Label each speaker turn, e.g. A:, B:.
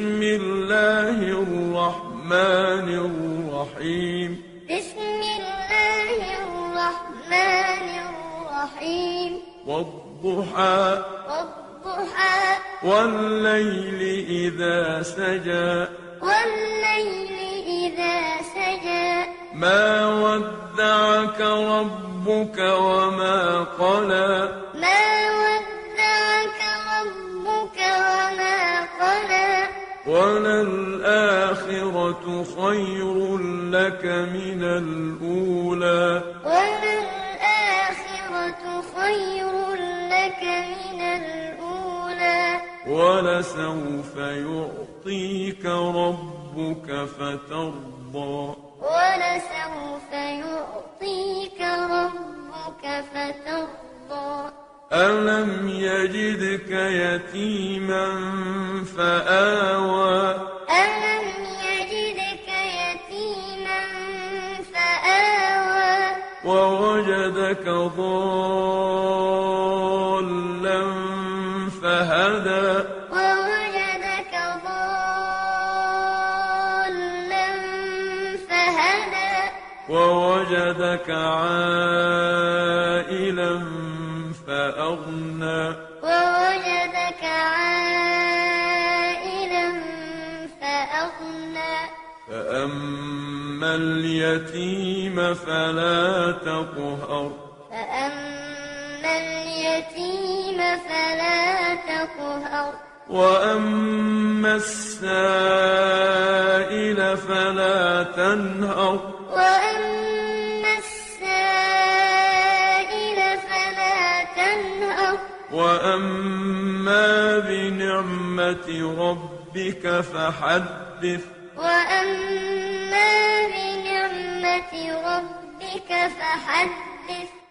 A: بسم الله الرحمن الرحيم
B: بسم الله الرحمن الرحيم
A: والضحى
B: والضحى
A: والليل إذا سجى
B: والليل إذا سجى
A: ما ودعك ربك وما قلى
B: ما ودعك ربك وما قلى
A: وللآخرة خير لك من الأولى
B: وللآخرة خير لك من الأولى
A: ولسوف يعطيك ربك فترضى
B: ولسوف يعطيك ربك فترضى
A: ألم يجدك يتيما فآوى
B: ألم يجدك يتيما فآوى
A: ووجدك ضالا فهدى
B: ووجدك ضالا فهدى
A: ووجدك عائلا فأغنى
B: ووجدك عائلا فأغنى
A: فأما اليتيم فلا تقهر
B: فأما اليتيم فلا تقهر
A: وأما السائل فلا تنهر
B: وأما السائل فلا تنهر
A: وأما بنعمة ربك فحدث
B: وأما بنعمة ربك فحدث